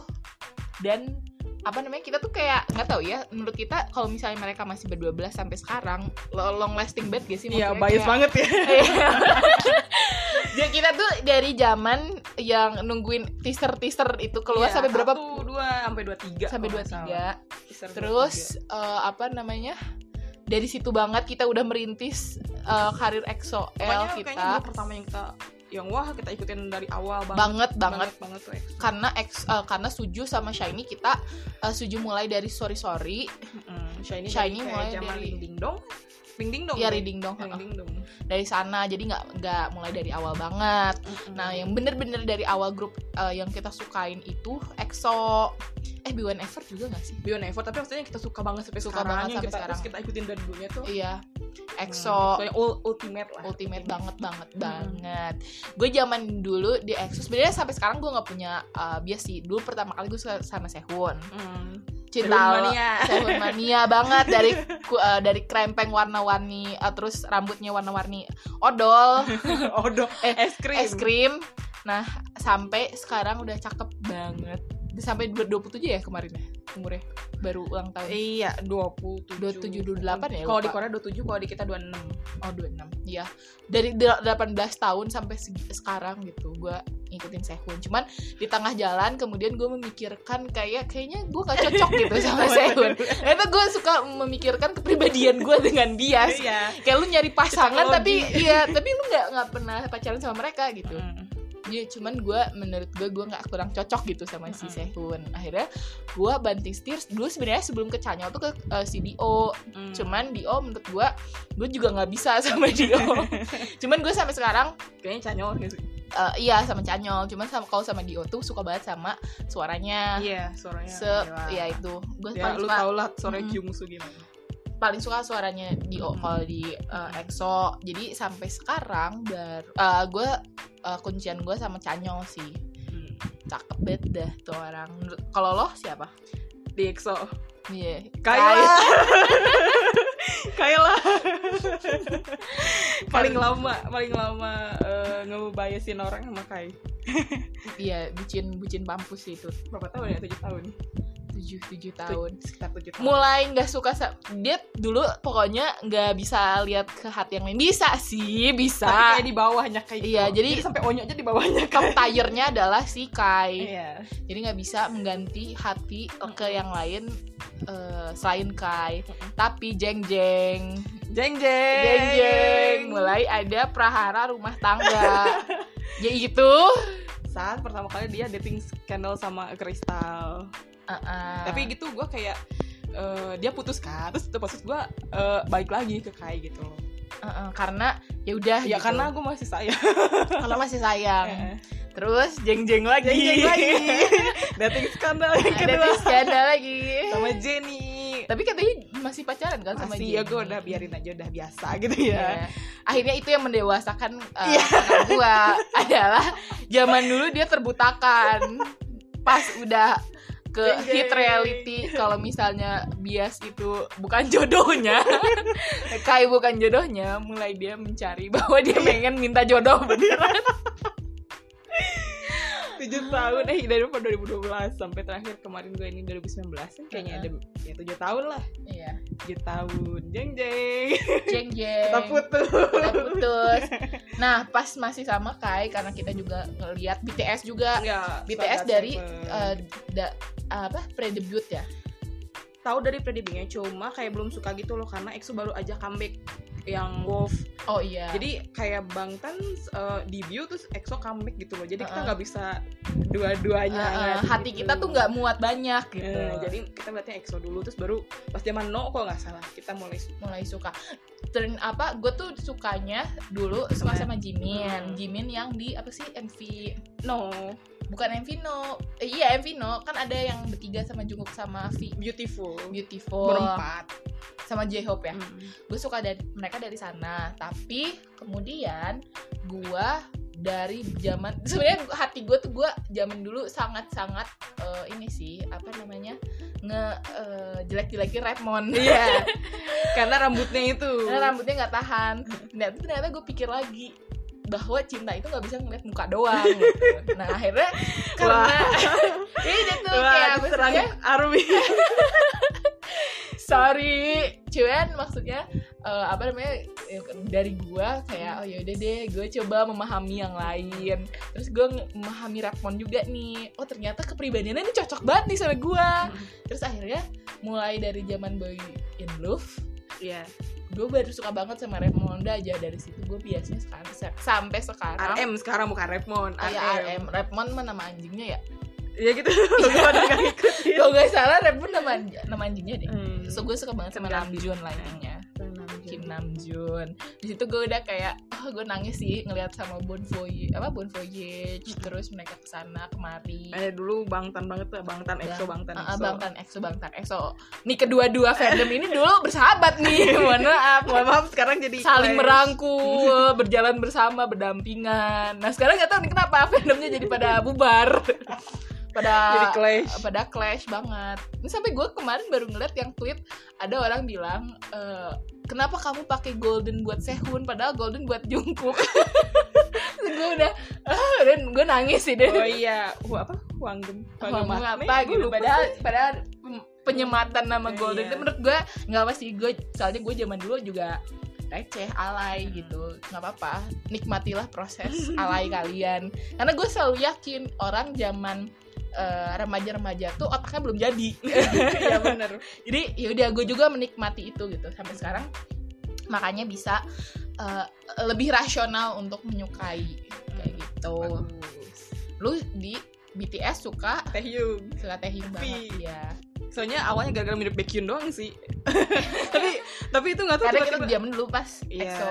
A: dan apa namanya kita tuh kayak nggak tahu ya menurut kita kalau misalnya mereka masih berdua belas sampai sekarang lo- long lasting banget gak sih
B: Iya,
A: Maksudnya
B: bias
A: kayak- *laughs* Iya.
B: banget ya.
A: Jadi kita tuh dari zaman yang nungguin teaser-teaser itu keluar
B: Iya,
A: sampai berapa
B: Satu, dua, sampai dua tiga.
A: sampai
B: kalau
A: dua
B: nggak salah.
A: tiga
B: Teaser
A: terus eh, apa namanya dari situ banget kita udah merintis eh, karir EXO
B: dua, tiga. Pokoknya
A: L
B: kayaknya
A: kita
B: dulu pertama yang kita yang wah kita ikutin dari awal
A: banget
B: banget
A: banget
B: banget tuh EXO.
A: karena X eh, karena Suju sama Shiny kita eh, Suju mulai dari sorry sorry
B: Mm, Shiny,
A: Shiny
B: kayak
A: mulai
B: zaman
A: dari-
B: Ring Ding Dong. Ring Ding Dong.
A: ya
B: kan?
A: reading dong
B: Ring
A: heeh.
B: Ding Dong.
A: dari sana jadi nggak nggak mulai dari awal banget nah yang bener-bener dari awal grup eh, yang kita sukain itu EXO eh B1 Ever juga nggak sih
B: Beyond Effort tapi maksudnya yang kita suka banget sampai
A: Suka
B: sekarang,
A: banget
B: yang
A: sampai
B: kita,
A: sekarang.
B: terus kita ikutin dari dulunya tuh
A: iya
B: hmm,
A: EXO
B: kayak ul- ultimate lah
A: ultimate
B: Ultimate.
A: banget banget
B: Hmm.
A: banget gue zaman dulu di EXO sebenarnya sampai sekarang gue nggak punya uh, bias sih dulu pertama kali gue suka sama Sehun
B: hmm.
A: cinta lo-
B: mania *laughs*
A: Sehun mania banget dari ku- uh, dari krempeng warna-warni uh, terus rambutnya warna-warni odol
B: odo
A: Eh,
B: es krim
A: es krim nah sampai sekarang udah cakep banget sampai dua- 27 ya kemarin ya umurnya baru ulang tahun
B: iya 27
A: 27, 28 ya,
B: kalau
A: lupa.
B: di Korea 27 kalau di kita 26
A: oh 26 iya dari de- 18 tahun sampai segi- sekarang gitu gue ngikutin Sehun cuman di tengah jalan kemudian gue memikirkan kayak kayaknya gue gak cocok gitu
B: *laughs*
A: sama Sehun itu gue suka memikirkan kepribadian gue dengan dia sih.
B: iya
A: kayak lu nyari pasangan
B: Cocokologi.
A: tapi iya tapi lu nggak nggak pernah pacaran sama mereka gitu
B: Hmm.
A: Iya, cuman gue menurut gue gue nggak kurang cocok gitu sama si
B: Mm-mm.
A: Sehun. Akhirnya gue banting setir dulu sebenarnya sebelum ke Chanyeol tuh ke eh, si Dio.
B: Hmm.
A: Cuman Dio menurut gue gue juga nggak bisa *laughs* sama
B: *laughs*
A: Dio. cuman gue sampai sekarang
B: kayaknya canyol gitu
A: eh, iya sama Chanyeol. Cuman sama kalau sama Dio tuh suka banget sama suaranya.
B: iya suaranya
A: Nah, Se ya itu gue
B: ya,
A: paling
B: lu
A: suka
B: tau lah suara
A: Mm-mm.
B: Kyung Soo gimana
A: paling suka suaranya Dio
B: Mm-mm.
A: kalau di eh, EXO. Jadi sampai sekarang baru eh, gue eh, kuncian gue sama Chanyeol sih.
B: Hmm.
A: cakep banget dah tuh orang Menurut- kalau lo siapa
B: di EXO
A: iya
B: Kayla Kayla *laughs* paling lama paling lama uh, ngebayasin orang sama Kai
A: *laughs* iya bucin bucin pampus sih itu
B: berapa tahun ya tujuh tahun
A: tujuh tujuh tahun
B: sekitar tujuh tahun
A: mulai nggak suka sa- dia dulu pokoknya nggak bisa lihat ke hati yang lain bisa sih
B: Tapi
A: bisa
B: kayak di bawahnya kayak
A: Iya, jadi-
B: sampai onyo aja di bawahnya
A: top tiernya adalah si Kai
B: iya
A: jadi nggak bisa mengganti hati ke yang lain eh, selain Kai tapi jeng jeng
B: jeng jeng
A: jeng jeng mulai ada prahara rumah
B: *laughs*
A: tangga ya itu
B: saat pertama kali dia dating scandal sama Kristal
A: Uh-uh.
B: tapi gitu gue kayak eh, dia putus kan terus itu maksud gue balik lagi ke Kai gitu loh
A: Heeh, karena ya udah
B: ya
A: gitu.
B: karena gue masih sayang
A: karena masih sayang terus jeng jeng lagi
B: jeng jeng lagi dating skandal yang
A: *laughs* ada
B: kedua
A: terus ada lagi
B: sama Jenny
A: tapi katanya masih pacaran kan sama
B: masih
A: Jenny?
B: ya gue udah biarin aja udah biasa gitu ya
A: Iya. akhirnya itu yang mendewasakan uh, kakak gue *laughs* adalah zaman dulu dia terbutakan pas udah ke
B: Jeng, jeng.
A: hit reality kalau misalnya bias itu bukan *laughs* jodohnya kai bukan jodohnya mulai dia mencari bahwa dia pengen minta jodoh beneran
B: tujuh tahun eh dari 2012 sampai terakhir kemarin gue ini 2019 kan kayaknya ada ya tujuh tahun lah
A: Iya.
B: tujuh tahun jeng jeng
A: Jeng jeng.
B: kita putus
A: Kita putus. Nah, pas masih sama Kai karena kita juga ngeliat BTS juga
B: Enggak,
A: BTS
B: sepakat
A: dari
B: sama-
A: eh, da- apa pre-debut ya.
B: tahu dari predebutnya cuma kayak belum suka gitu loh karena EXO baru aja comeback yang Wolf
A: Oh iya.
B: jadi kayak Bangtan eh, debut terus EXO comeback gitu loh jadi kita
A: Uh-uh.
B: nggak bisa dua-duanya
A: Eh, eh,
B: ngasih
A: hati
B: gitu.
A: kita tuh nggak muat banyak gitu.
B: Eh, jadi kita berarti EXO dulu terus baru pas zaman No kalau nggak salah kita mulai
A: mulai suka. Turn apa? Gue tuh sukanya dulu suka
B: Sama-
A: sama Jimin.
B: Hmm.
A: Jimin yang di apa sih MV
B: No
A: bukan MV No. Eh, iya MV No kan ada yang bertiga sama Jungkook sama V
B: Beautiful
A: Beautiful
B: berempat
A: sama J-Hope ya.
B: Mm.
A: gue suka dari mereka dari sana tapi kemudian gue dari zaman *laughs* sebenarnya gua- hati gue tuh gue zaman dulu sangat sangat ini sih apa namanya nge eh, jelek-jelekin Redmond
B: Iya
A: *laughs*
B: karena rambutnya itu
A: karena rambutnya nggak tahan nah itu ternyata gue pikir lagi bahwa cinta itu nggak bisa ngeliat muka doang gitu. nah akhirnya karena
B: *laughs*
A: jadi dia tuh kayak
B: Wah, serang
A: maksudnya
B: Army
A: sorry cuman maksudnya eh, apa namanya eh, dari gua kayak oh yaudah deh gue coba memahami yang lain terus gue memahami Redmond juga nih oh ternyata kepribadiannya ini cocok banget nih sama gua terus akhirnya mulai dari zaman boy in love
B: Iya
A: gue baru suka banget sama Redmond aja dari situ gue biasanya sekarang se- sampai sekarang
B: RM sekarang bukan Redmond
A: Oh iya, RM Redmond mah nama anjingnya ya
B: ya
A: *laughs*
B: gitu gue udah gak ikutin
A: kalau nggak salah Redmond nama anj- nama anjingnya deh
B: Hmm.
A: so gue suka banget sama
B: Kenapa?
A: Namjoon lah intinya Kim Namjoon. Di situ gue udah kayak oh, gue nangis sih ngelihat sama Bon Voyage apa Bon Voyage
B: Hmm.
A: terus mereka kesana kemari.
B: ada Eh, dulu bangtan banget tuh bangtan EXO
A: Bang-
B: bangtan
A: Ah, ah,
B: EXO
A: Bangtan EXO Bangtan EXO. Nih kedua-dua fandom ini dulu bersahabat nih.
B: *laughs*
A: Mohon maaf.
B: mohon maaf sekarang jadi
A: Saling
B: clash.
A: merangkul, berjalan bersama, berdampingan. Nah sekarang gak tahu nih kenapa fandomnya jadi pada bubar, *laughs* pada
B: jadi clash
A: pada clash banget. Ini sampai gue kemarin baru ngeliat yang tweet ada orang bilang eh, kenapa kamu pakai golden buat Sehun padahal golden buat Jungkook. *laughs* gue udah ah, dan gue nangis sih dan
B: oh iya Wah, apa Wanggem
A: ngomong apa
B: Nih, gua
A: gitu
B: lupa.
A: padahal *laughs* padahal pem- penyematan nama
B: Iya.
A: golden itu menurut gue nggak apa sih gue soalnya gue zaman dulu juga receh alay
B: Hmm.
A: gitu nggak apa-apa nikmatilah proses *laughs* alay kalian karena gue selalu yakin orang zaman eh, remaja-remaja tuh otaknya belum jadi *laughs*
B: iya bener
A: jadi yaudah gue juga menikmati itu gitu sampai sekarang makanya bisa eh, lebih rasional untuk menyukai kayak gitu
B: Hmm, Bagus.
A: lu di BTS suka
B: Taehyung
A: suka Taehyung banget
B: Tapi-
A: ya
B: soalnya awalnya gara-gara mirip Baekhyun doang
A: *laughs*
B: sih tapi tapi itu nggak tahu
A: karena kita
B: tiba-tiba-
A: zaman dulu pas
B: Iya.
A: EXO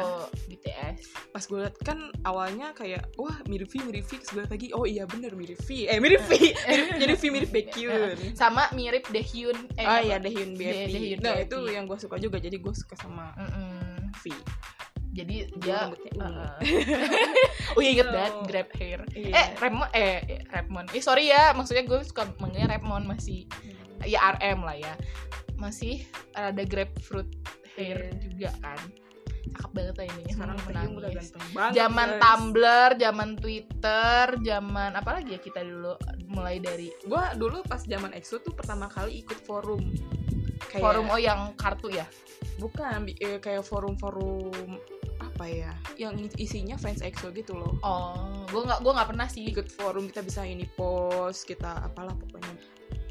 A: BTS
B: pas gue liat kan awalnya kayak wah mirip V mirip V terus gue liat lagi oh iya bener mirip V eh
A: *laughs*
B: mirip V *laughs* mirip, *laughs* jadi V mirip Baekhyun
A: Iya. sama mirip Daehyun eh,
B: oh
A: apa?
B: iya Daehyun
A: Dae-
B: BFP
A: Daehyun
B: nah
A: BFP.
B: itu yang gue suka juga jadi gue suka sama
A: Mm-mm.
B: V
A: jadi
B: Dia
A: dia
B: rambutnya ungu.
A: uh-uh.
B: *laughs*
A: *laughs* oh iya inget
B: Gitu.
A: banget grab hair
B: Iya.
A: eh Redmond eh eh, Redmond eh sorry ya maksudnya gue suka manggilnya Redmond masih ya RM lah ya masih ada grapefruit hair
B: Iya.
A: juga kan cakep banget lah ini
B: sekarang Taehyung udah
A: menangis
B: ganteng banget
A: zaman
B: guys.
A: Tumblr zaman Twitter zaman apa lagi ya kita dulu mulai dari
B: gue dulu pas zaman EXO tuh pertama kali ikut forum kayak,
A: forum oh yang kartu ya
B: bukan bi- eh, kayak forum-forum apa ya yang isinya fans EXO gitu loh
A: oh gue nggak gue nggak pernah sih
B: ikut forum kita bisa ini post kita apalah pokoknya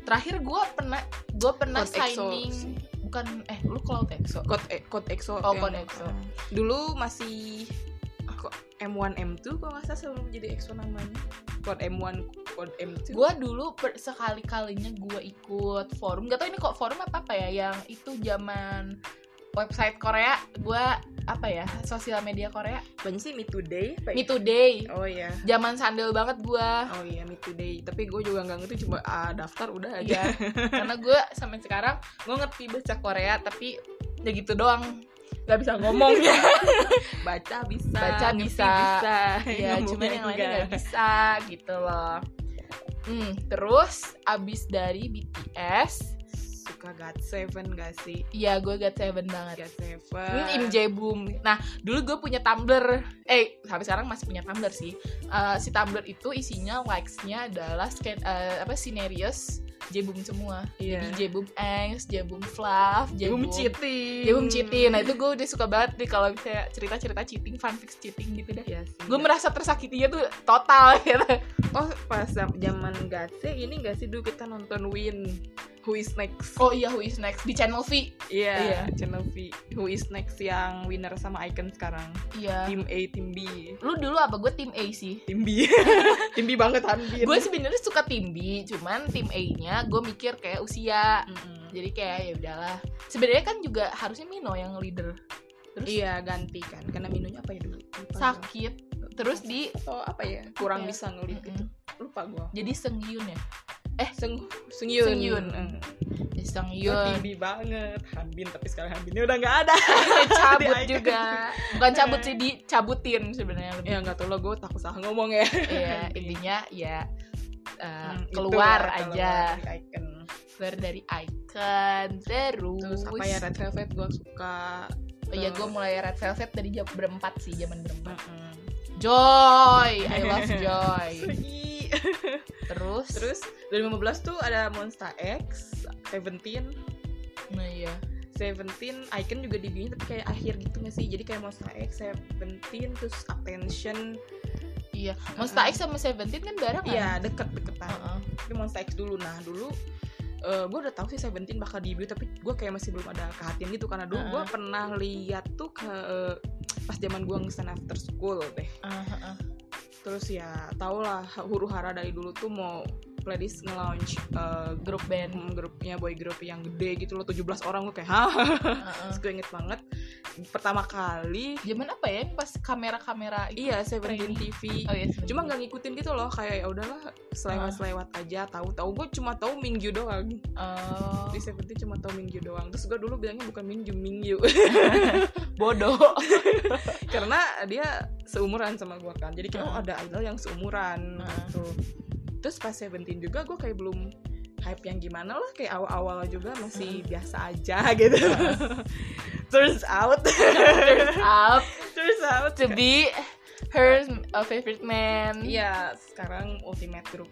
A: terakhir gue pernah gue pernah
B: Code EXO
A: signing
B: sih.
A: bukan eh lu cloud EXO
B: Code eh, Code EXO
A: Oh,
B: yang-
A: Code EXO.
B: dulu masih ah, kok M1 M2 kok nggak salah sebelum jadi EXO namanya Code M1 Code M2
A: gue dulu per- sekali-kalinya gue ikut forum gak tau ini kok forum apa apa ya yang itu zaman website Korea gue apa ya sosial media Korea
B: banyak sih Me Today apa ya?
A: Me Today
B: oh iya
A: zaman sandel banget gue
B: oh iya Me Today tapi gue juga nggak ngerti cuma ah, daftar udah aja *laughs*
A: Iya, karena gue sampai sekarang gue ngerti baca Korea tapi ya gitu doang nggak bisa ngomongnya
B: Iya,
A: *laughs*
B: baca bisa
A: Baca
B: ngerti
A: bisa.
B: bisa *laughs*
A: ya
B: Ngomongnya
A: cuman yang lainnya
B: enggak.
A: nggak bisa gitu loh hmm, terus abis dari BTS
B: suka suka God Seven gak sih?
A: Iya, gue got seven banget.
B: God Seven.
A: Hmm, Im Jae Boom. Nah, dulu gue punya Tumblr. Eh, sampai sekarang masih punya Tumblr sih. Eh, si Tumblr itu isinya likes-nya adalah sken- eh, apa Sinerius, Jebum semua.
B: Iya.
A: Jadi Jebum Angst, Jebum Fluff,
B: Jebum
A: Jebum
B: cheating.
A: Jebum cheating. Nah, itu gue udah suka banget nih kalau misalnya cerita-cerita cheating, fanfic cheating gitu deh.
B: Iya sih.
A: Gue merasa tersakitinya tuh total *laughs* gitu.
B: oh pas zam- zaman Gatse ini gak sih dulu kita nonton Win Who is next?
A: Oh iya, Who is next di channel V? iya.
B: Iya, channel V. Who is next yang winner sama Icon sekarang.
A: Iya.
B: Tim A, tim B.
A: Lu dulu apa gue tim A sih?
B: Tim
A: *laughs*
B: B. tim B banget Hanbin.
A: Gue sebenarnya suka tim B, cuman tim A-nya gue mikir kayak usia
B: Mm-mm.
A: jadi kayak ya udahlah sebenarnya kan juga harusnya Mino yang leader terus
B: Iya ganti kan karena minunya apa ya dulu Lupa
A: sakit terus di
B: gua. atau apa ya
A: Apa
B: kurang
A: ya?
B: bisa ngelit gitu
A: Mm-mm.
B: lupa gua
A: jadi Sengyun ya
B: Seng Sengyun
A: Sengyun.
B: Mm.
A: jadi
B: Gua
A: *laughs* Sengyun
B: tinggi banget Hanbin tapi sekarang Hanbinnya udah nggak ada *laughs*
A: cabut
B: Di-icon.
A: juga bukan cabut sih dicabutin
B: *laughs*
A: sebenarnya lebih
B: ya nggak tau lah gue takut salah ngomong ya
A: ya intinya ya uh,
B: *laughs* Hmm, itu
A: keluar
B: lah,
A: aja
B: keluar dari icon
A: keluar dari icon terus,
B: terus apa ya red velvet gue suka
A: Oh iya gue mulai red velvet dari jam berempat sih zaman berempat
B: Mm-mm. *laughs*
A: joy I love joy
B: Segi.
A: terus
B: terus 2015 tuh ada monster x 17
A: nah iya
B: Seventeen Icon juga dibikin tapi kayak akhir gitu nggak sih jadi kayak Monster X Seventeen terus Attention
A: iya Monsta X sama Seventeen kan barengan
B: Hmm. iya deket deketan
A: Heeh.
B: tapi Monster X dulu nah dulu gue udah tahu sih Seventeen bakal debut tapi gue kayak masih belum ada kehatian gitu karena dulu gue pernah lihat tuh ke eh, pas zaman gue ngesan after school deh
A: Heeh.
B: terus ya tau lah huru hara dari dulu tuh mau playlist nge-launch eh,
A: grup band
B: mm, grupnya boy group yang gede gitu loh 17 orang gue kayak hah
A: Heeh.
B: terus gue inget banget pertama kali
A: Ah, zaman apa ya pas kamera-kamera itu?
B: Iya, Seventeen
A: Training.
B: TV.
A: oh iya Ah. sebenarnya.
B: Cuma nggak ngikutin gitu loh, kayak ya udahlah selewat-selewat aja. Tahu-tahu gue cuma tahu Mingyu doang.
A: Oh,
B: Di Seventeen cuma tahu Mingyu doang. Terus gue dulu bilangnya bukan Mingyu, Mingyu. *laughs*
A: bodoh
B: Karena dia seumuran sama gue kan. Jadi kayak oh
A: Ah.
B: ada idol yang seumuran
A: Ah.
B: gitu. Terus pas Seventeen juga gue kayak belum hype yang gimana lah kayak awal-awal juga masih biasa aja *laughs* gitu. turns
A: *laughs*
B: out,
A: *laughs* up
B: turns out.
A: to be her uh, favorite man
B: Iya, sekarang ultimate group.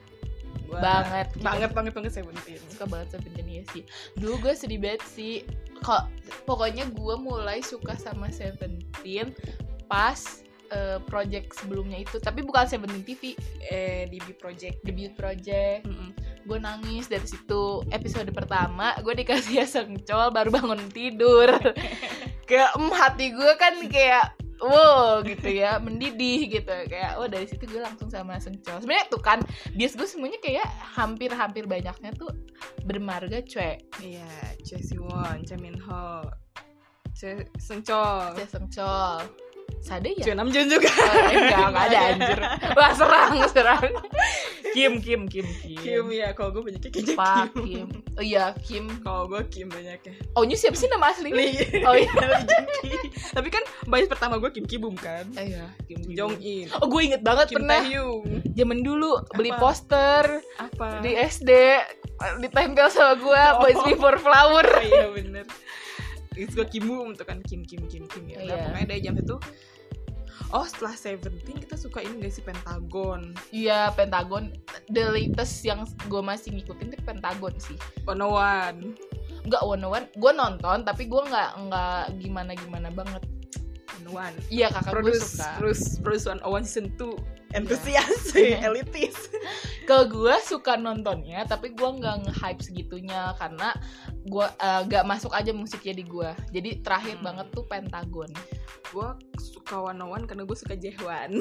B: Gua-
A: banget
B: banget banget banget Seventeen
A: suka banget Seventeen ya sih dulu gue sedih banget sih kok pokoknya gue mulai suka sama Seventeen pas eh, project sebelumnya itu tapi bukan Seventeen TV
B: eh DB Project
A: debut project gue nangis dari situ episode pertama gue dikasih *laughs* asam col baru bangun tidur ke em hati gue kan kayak wow gitu ya mendidih gitu kayak oh dari situ gue langsung sama sengcol sebenarnya tuh kan bias gue semuanya kayak hampir-hampir banyaknya tuh bermarga cuek
B: iya Choi Siwon Choi Min Ho Choi Seung Chol
A: saya sengcol sade ya
B: Choi Nam Jun juga
A: Oh, enggak, enggak ada anjir wah serang serang Kim Kim Kim Kim,
B: Kim ya kalau gue banyaknya kayaknya
A: Iya. Pak
B: Kim,
A: Kim oh iya Kim
B: kalau gue Kim ya. banyaknya
A: oh ini siapa sih nama aslinya
B: Lee
A: oh
B: *laughs*
A: iya
B: Lee Jung Ki tapi kan bayi pertama gue Kim Ki Bum kan
A: Oh, iya Kim
B: Kim Jong In
A: *laughs* Oh gue inget banget
B: Kim
A: pernah
B: Tae Hyung
A: zaman dulu beli
B: Apa?
A: poster
B: apa
A: di SD ditempel sama gue
B: Oh.
A: Boys Before Flower.
B: Oh, iya bener Terus gue Kim Bum tuh kan Kim Kim Kim Kim ya
A: Iya.
B: Nah, pokoknya dari jam itu Oh setelah Seventeen kita suka ini gak sih Pentagon
A: *laughs* Iya Pentagon the latest yang gue masih ngikutin itu Pentagon sih.
B: One One
A: Enggak One One gue nonton tapi gue nggak nggak gimana gimana banget.
B: One One
A: Iya kakak gue
B: produce
A: suka.
B: produce produce one one season two antusias
A: Iya.
B: *laughs* elitis
A: Kalau gue suka nontonnya tapi gue nggak nge-hype segitunya karena gue nggak masuk aja musiknya di gue. Jadi terakhir
B: Hmm.
A: banget tuh Pentagon.
B: gue suka one one karena gue suka *laughs* Jaehwan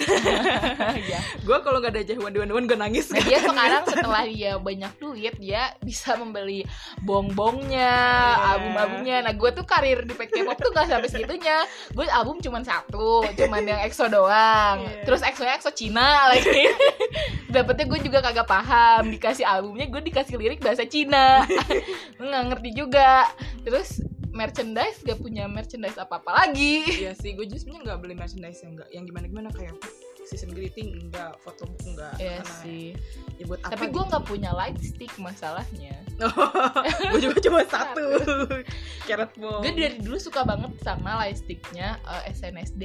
A: *laughs* Iya.
B: gue kalau nggak ada Jaehwan di one one gue nangis *laughs*
A: Nah, dia sekarang
B: gitu.
A: setelah dia banyak duit dia bisa membeli bong-bongnya,
B: Iya.
A: album-albumnya. Nah, gue tuh karir di K-pop tuh gak sampai segitunya. Gue album cuman satu, cuman yang EXO doang.
B: Iya.
A: Terus EXO-nya EXO Cina lagi. *laughs* Dapetnya gue juga kagak paham. Dikasih albumnya gue dikasih lirik bahasa
B: *laughs*
A: Cina. Nggak ngerti juga. Terus merchandise gak punya merchandise apa-apa lagi.
B: Iya sih gue justru nggak beli merchandise yang nggak yang gimana gimana kayak season greeting enggak foto book enggak
A: Iya
B: Karena
A: sih.
B: ya buat apa
A: Tapi gue nggak punya light stick masalahnya.
B: *laughs* gue juga cuma
A: *laughs*
B: satu carrot bomb
A: Gue dari dulu suka banget sama light sticknya eh, SNSD,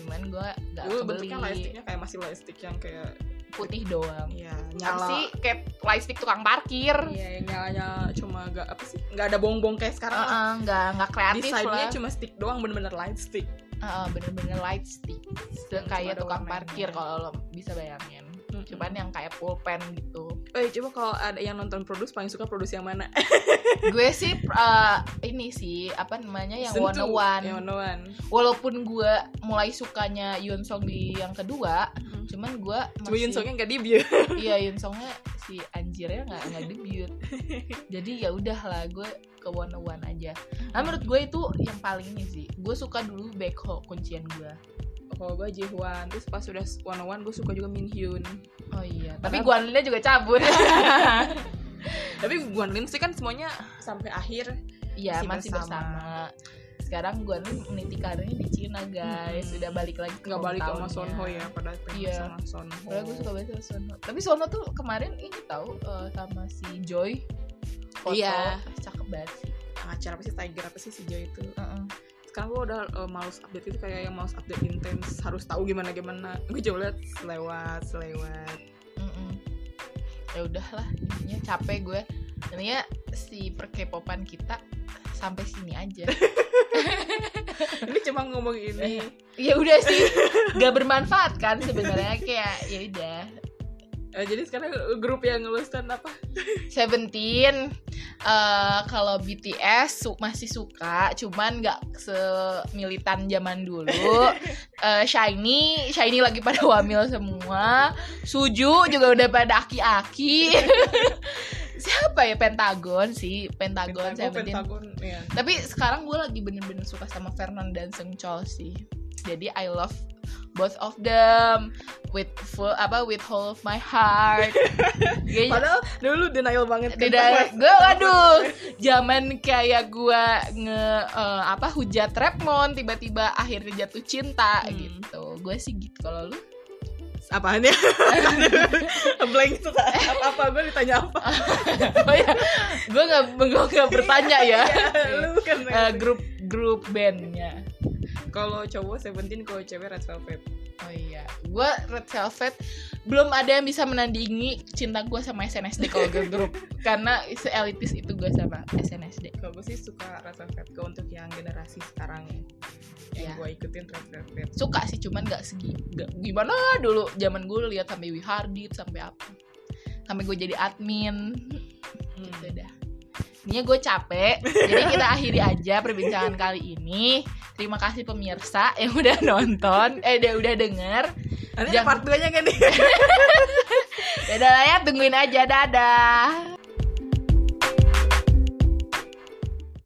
A: cuman gue nggak
B: Dulu
A: beli
B: bentuknya lightsticknya kayak masih lightstick yang kayak
A: putih doang.
B: ya
A: Apa
B: nyala
A: sih kayak light stick tukang parkir.
B: Iya, yang nyalanya cuma gak apa sih? Gak ada bongbong kayak sekarang. lah.
A: Heeh, nggak nggak kreatif
B: Desainnya
A: Ah, lah.
B: cuma stick doang, bener-bener light stick.
A: Heeh, bener-bener light stick. Se-
B: Cuma
A: kayak
B: ada
A: tukang
B: warnanya.
A: parkir kalau lo bisa bayangin. Cuman yang kayak pulpen gitu.
B: Gitu,
A: *laughs*
B: eh coba kalau ada yang nonton produce paling suka produce yang mana?
A: gue sih eh, ini sih apa namanya yang
B: Season
A: one
B: two.
A: one.
B: Yang one one.
A: Walaupun gue mulai sukanya Yoon Song di yang kedua, cuman gue
B: Cuma Yun Songnya gak debut.
A: iya Yoon Songnya si anjirnya nggak nggak
B: *laughs*
A: debut. Jadi ya udahlah gue ke one one aja. Nah
B: Hmm.
A: menurut gue itu yang paling ini sih. Gue suka dulu Baekho kuncian gue.
B: *laughs* Kalau gue Jiwan, terus pas udah one one gue suka juga Min Hyun.
A: Oh iya. Tapi Guan Linnya juga
B: *laughs*
A: cabut.
B: Tapi Guan Lin sih kan semuanya sampai akhir.
A: Iya
B: Masih
A: masih bersama.
B: bersama.
A: Sekarang Guan Lin meniti karirnya di Cina guys.
B: Mm-mm.
A: Sudah balik lagi ke
B: Gak Hmm. balik sama
A: hometownnya.
B: Sonho ya, padahal pengen
A: Iya.
B: sama Sonho.
A: Padahal gue suka banget sama Sono. Tapi Sono tuh kemarin ini tahu eh, sama si Joy. Foto,
B: Iya.
A: Cakep banget sih.
B: Yang acara apa sih, Tiger apa sih sejauh itu. sekarang gue udah uh, males update itu kayak yang males update intens harus tahu gimana gimana gue coba liat selewat selewat
A: Mm-mm. Ya udahlah, intinya capek gue. Intinya si perkepopan kita sampai sini aja.
B: *laughs* ini cuma ngomong *laughs* ini
A: ya udah sih, gak bermanfaat kan sebenarnya kayak ya udah.
B: Eh, jadi sekarang grup yang ngelusan apa
A: Seventeen eh, kalau BTS su- masih suka, cuman nggak semilitan zaman dulu. Eh, Shiny, Shiny lagi pada wamil semua. Suju juga udah pada aki-aki. *laughs* Siapa ya Pentagon sih? Pentagon,
B: Pentagon
A: Seventeen.
B: Pentagon ya
A: Tapi sekarang gue lagi bener-bener suka sama Vernon dan Seungchol sih. Jadi I love both of them with full apa with whole of my
B: *laughs*
A: heart. Kayaknya-
B: padahal dulu denial banget kan,
A: tidak
B: Mas.
A: gue Iya. waduh zaman kayak gue nge eh, apa hujat Rapmon tiba-tiba akhirnya jatuh cinta
B: Hmm.
A: gitu gue sih gitu kalau lu *laughs*
B: apaan ya *laughs* blank tuh
A: Eh.
B: apa apa gue ditanya apa
A: oh ya gue nggak gua nggak *laughs* bertanya ya
B: lu kan
A: Eh, grup grup bandnya
B: kalau cowok Seventeen kalau cewek Red Velvet
A: oh iya gue Red Velvet belum ada yang bisa menandingi cinta gue sama SNSD kalau girl group karena seelitis itu gue sama SNSD
B: kalau gue sih suka Red Velvet gue untuk yang generasi sekarang
A: Iya.
B: yang gue ikutin Red Velvet
A: suka sih cuman nggak segi nggak- gimana dulu zaman gue lihat sampai We Hardit sampai apa sampai gue jadi admin
B: Hmm.
A: gitu dah ini gue capek jadi kita akhiri aja perbincangan kali ini terima kasih pemirsa yang udah nonton eh udah udah denger
B: Nanti
A: Jangan-
B: ada part 2 nya kan nih?
A: dadah ya tungguin aja dadah